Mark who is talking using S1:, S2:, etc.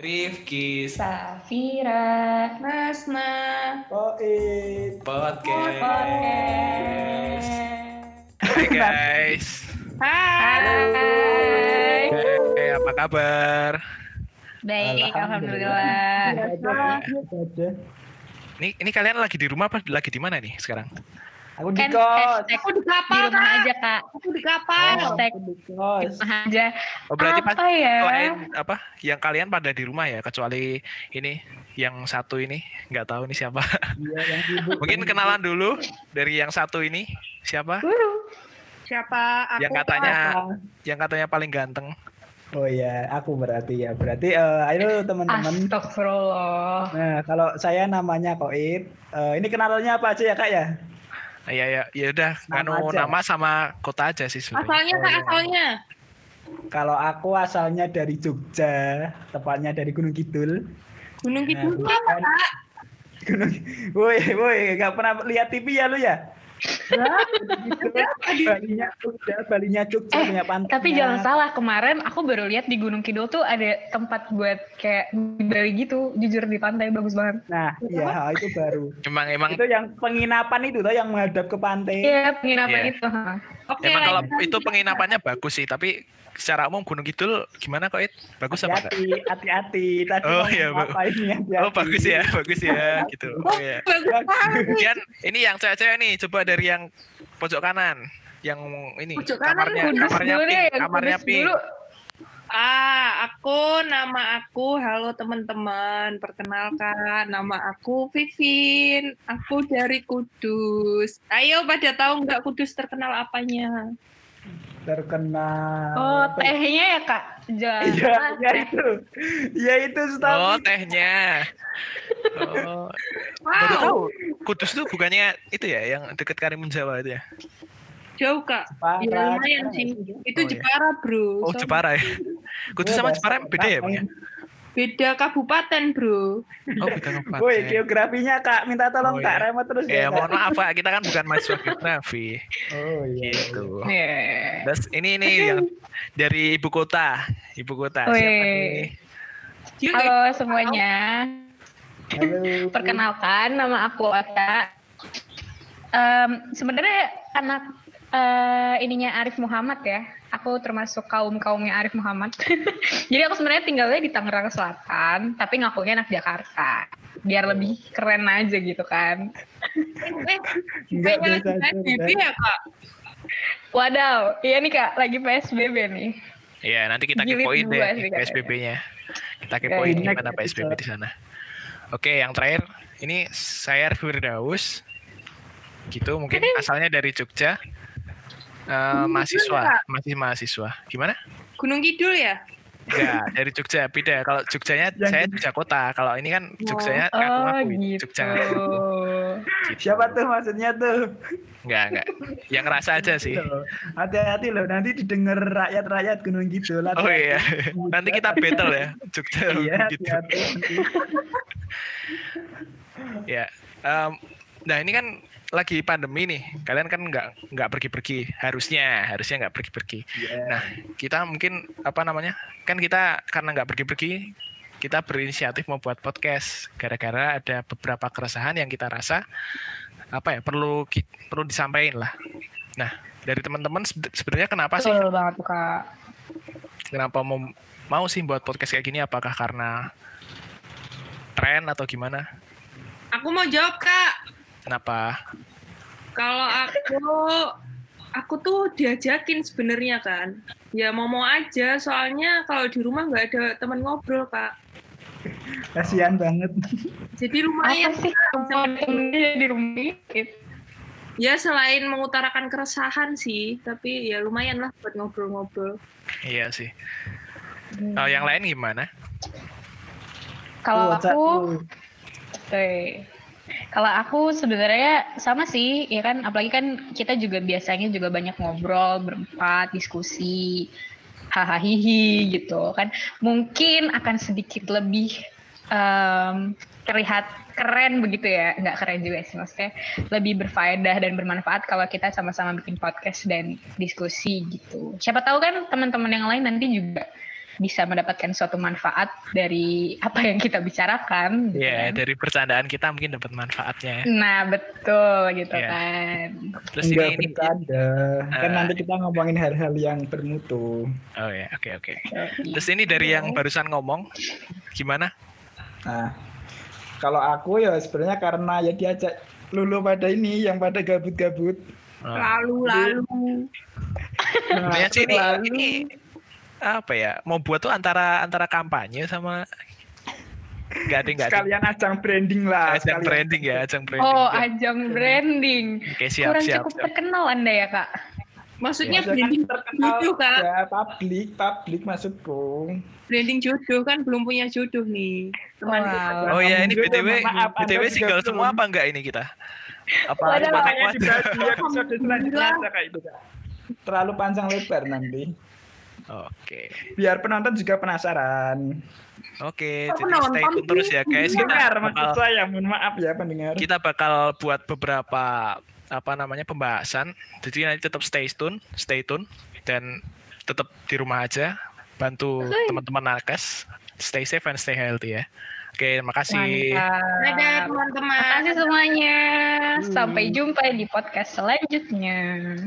S1: Rifkis
S2: Safira, Nasna,
S3: Koit.
S1: Podcast.
S2: Podcast.
S4: Hai guys,
S2: Hai.
S4: eh apa kabar?
S2: Baik,
S3: Alhamdulillah.
S2: alhamdulillah.
S3: Gitu aja.
S4: Ini ini kalian lagi di rumah apa lagi di mana nih sekarang?
S3: Aku di
S2: Kan
S3: kos.
S2: hashtag
S5: Aku di
S2: di
S5: kapal,
S2: rumah
S5: Kak.
S2: aja kak.
S5: Aku di kapal.
S2: Oh. hashtag.
S3: Aku di kos.
S2: Rumah aja.
S4: Oh, berarti pas
S2: Apa ya?
S4: lain apa? Yang kalian pada di rumah ya, kecuali ini yang satu ini nggak tahu nih siapa.
S3: Iya, yang sibuk.
S4: Mungkin kenalan dulu dari yang satu ini siapa?
S5: Siapa? Aku
S4: Yang katanya yang katanya paling ganteng.
S3: Oh iya, aku berarti ya. Berarti eh ayo teman-teman.
S2: Astagfirullah.
S3: Nah, kalau saya namanya Koit. Eh ini kenalannya apa aja ya, Kak ya?
S4: Ah, Ya ya ya udah
S3: Nama
S4: nganu
S3: aja.
S4: nama sama kota aja sih sebenarnya.
S5: asalnya Kak, asalnya.
S3: Kalau aku asalnya dari Jogja, tepatnya dari Gunung Kidul.
S5: Gunung
S4: Iya.
S5: Kidul tuh
S3: Nah,
S5: apa,
S3: bukan.
S5: Kak?
S3: Gunung. Woi, woi, nggak pernah lihat TV ya lu ya? Balinya Jogja, Balinya Jogja
S2: Eh,
S3: punya pantai. Nah,
S2: Tapi jangan salah, kemarin aku baru lihat di Gunung Kidul tuh ada tempat buat kayak Bali gitu, jujur di pantai bagus banget.
S3: Nah, iya itu baru.
S4: Emang emang
S3: Itu yang penginapan itu tuh yang menghadap ke pantai.
S2: Iya, penginapan
S4: Iya.
S2: itu. ha.
S5: Oke,
S2: Iya,
S4: emang kalau
S5: lanjut.
S4: itu penginapannya bagus sih, tapi secara umum Gunung Kidul gimana kok It? Bagus apa enggak?
S3: Hati-hati, hati-hati. Tadi
S4: Oh,
S3: mau
S4: iya, Bu.
S3: ngapain ya? hati-hati.
S4: Oh bagus ya, bagus ya gitu. Oh, iya.
S5: Bagus banget.
S4: Kemudian ini yang cewek-cewek nih, coba dari yang pojok kanan, yang ini
S5: Pojok kanan,
S4: kamarnya,
S2: Kudus
S4: Ya, kamarnya
S2: dulu deh, ya.
S4: pink, kamarnya
S2: kudus
S4: pink.
S2: dulu.
S5: Ah, aku nama aku halo teman-teman. Perkenalkan nama aku Vivin. Aku dari Kudus. Ayo pada tahu nggak Kudus terkenal apanya?
S3: Terkenal.
S2: Oh, tehnya ya kak? Jangan.
S3: Iya, iya itu. Iya itu
S4: Oh
S3: Stabi.
S4: tehnya. Oh, baru
S5: Wow,
S4: tahu. Kudus tuh bukannya itu ya, yang deket Karimun Jawa itu ya.
S5: jauh Kak.
S3: Parah.
S5: Ya, lumayan sih.
S4: Oh,
S5: Itu
S4: iya.
S5: Jepara, Bro.
S4: Oh
S5: Sorry.
S4: Jepara ya. Kudus sama
S3: Iya,
S4: Jepara beda ya, Bang, ya?
S5: Beda kabupaten, Bro.
S4: Oh beda kabupaten.
S3: Woi, geografinya Kak, minta
S4: Oh,
S3: tolong Kak,
S4: iya.
S3: remote terus
S4: Ya
S3: Kak.
S4: mohon maaf Pak, kita kan bukan mahasiswa geografi
S3: Oh iya.
S4: gitu.
S2: Iya.
S4: Terus ini nih yang dari ibu kota, ibu kota siapa
S2: Wih.
S4: nih?
S5: Dia nggak
S2: Halo semuanya,
S3: Halo.
S2: perkenalkan nama aku Ata. Em, Sebenarnya anak eh, ininya Arif Muhammad ya. Aku termasuk kaum kaumnya Arif Muhammad. Jadi aku sebenarnya tinggalnya di Tangerang Selatan, tapi ngakunya anak Jakarta. Biar lebih keren aja gitu kan.
S5: Eh,
S3: Enggak
S5: kayaknya lagi
S3: bisa,
S5: PSBB
S3: enggak.
S5: ya kak?
S2: Wadaw, iya nih kak, lagi PSBB nih.
S4: Iya, nanti kita
S2: Jilid
S4: kepoin deh
S2: dua sih katanya.
S4: PSBB-nya. Kita kepoin
S3: Oke.
S4: gimana PSBB di sana. Oke, yang terakhir ini saya Firdaus. Gitu mungkin asalnya dari Jogja. Eh, mahasiswa, masih mahasiswa. Gimana?
S5: Gunung Kidul ya?
S4: Enggak, dari Jogja beda. Kalau Jogjanya
S3: Yang-
S4: saya Jogja kota. Kalau ini kan Jogjanya aku
S2: Oh
S4: ngakuin
S2: gitu.
S4: Jogja. Gitu.
S3: Siapa tuh maksudnya tuh?
S4: Enggak, enggak. Yang ngerasa aja Iya sih.
S3: Loh, Hati-hati loh, nanti didengar rakyat-rakyat Gunung Kidul.
S4: Oh
S3: hati-hati.
S4: iya. Nanti kita battle ya. Jogja
S3: Iya,
S4: gitu.
S3: hati-hati.
S4: Ya, em, nah ini kan lagi pandemi nih. Kalian kan nggak nggak pergi-pergi. Harusnya, harusnya nggak pergi-pergi.
S3: Iya.
S4: Nah, kita mungkin apa namanya? Kan kita karena nggak pergi-pergi, kita berinisiatif membuat podcast. Gara-gara ada beberapa keresahan yang kita rasa apa ya perlu ki- perlu disampaikan lah. Nah, dari teman-teman sebe- sebenarnya kenapa sih?
S2: Betul banget tuh kak.
S4: Kenapa mau mau sih buat podcast kayak gini? Apakah karena tren atau gimana?
S5: Aku mau jawab kak.
S4: Kenapa?
S5: Kalau aku, aku tuh diajakin sebenarnya kan. Ya mau mau aja. Soalnya kalau di rumah nggak ada teman ngobrol kak.
S3: Kasihan banget.
S5: Jadi
S2: Apa
S5: lumayan.
S2: sih kemungkinan di rumah gitu?
S5: Ya selain mengutarakan keresahan sih, tapi ya lumayan lah buat ngobrol-ngobrol.
S4: Iya sih. Kalau yang lain gimana?
S2: Kalau
S3: Tuh, Cak,
S2: aku,
S3: tuh.
S2: Oke. Kalau aku sebenarnya sama sih, ya kan. Apalagi kan kita juga biasanya juga banyak ngobrol, berempat, diskusi, hahaha gitu kan. Mungkin akan sedikit lebih em, terlihat keren begitu ya, nggak keren juga sih maksudnya. Lebih berfaedah dan bermanfaat kalau kita sama-sama bikin podcast dan diskusi gitu. Siapa tahu kan teman-teman yang lain nanti juga bisa mendapatkan suatu manfaat dari apa yang kita bicarakan. gitu
S4: Ya,
S2: kan.
S4: dari bercandaan kita mungkin dapat manfaatnya ya.
S2: Nah, betul gitu
S4: Iya.
S2: kan.
S4: Terus
S3: Enggak
S4: ini, ini
S3: bercanda. Kan
S4: Ah.
S3: nanti kita ngomongin hal-hal yang bermutu.
S4: Oh ya, oke oke.
S2: Yoi.
S4: Terus ini dari yang barusan ngomong gimana?
S3: Nah, kalau aku ya sebenarnya karena ya diajak lulu pada ini yang pada gabut-gabut.
S4: Oh.
S3: Ah.
S5: Lalu lalu.
S3: Iya. Nah,
S4: Sebenarnya sih ini, ini apa ya? Mau buat tuh antara antara kampanye sama nggak ada nggak ada.
S3: Sekalian ajang branding lah.
S4: Ajang
S3: sekalian.
S4: branding ya, ajang branding.
S2: Oh,
S4: Ya.
S2: ajang branding.
S4: Oke, siap
S2: Kurang
S4: siap.
S2: cukup
S4: siap.
S2: terkenal Anda ya, Kak.
S5: Maksudnya
S3: Maksudnya
S5: branding
S3: Ya, terkenal
S5: jodoh kan?
S3: ya, publik, publik maksudku.
S5: Branding jodoh kan belum punya jodoh nih. Teman
S2: Wow.
S4: Oh ya, ini
S3: Alhamdulillah,
S4: BTW
S3: maaf, Anda
S4: BTW
S3: juga
S4: single
S3: belum.
S4: semua apa enggak ini kita? Apa
S2: Waduh,
S4: cuma-
S3: Makanya dibahas di episode selanjutnya aja kayak itu, Kak. Terlalu panjang lebar nanti.
S4: Oke.
S3: Biar penonton juga penasaran.
S4: Oke,
S5: Kok
S4: jadi stay
S5: penonton
S4: tune terus
S5: sih?
S4: ya guys. Kita
S3: Pendengar, maksud
S4: bakal,
S3: saya. Mohon maaf ya pendengar.
S4: kita bakal buat beberapa apa namanya pembahasan. Jadi nanti tetap stay tune, stay tune dan tetap di rumah aja bantu
S2: Betul.
S4: teman-teman nakes. Stay safe and stay healthy ya. Oke, makasih.
S5: Dadah
S2: Mantap.
S5: teman-teman.
S4: Hmm.
S2: Terima kasih semuanya. Sampai jumpa di podcast selanjutnya.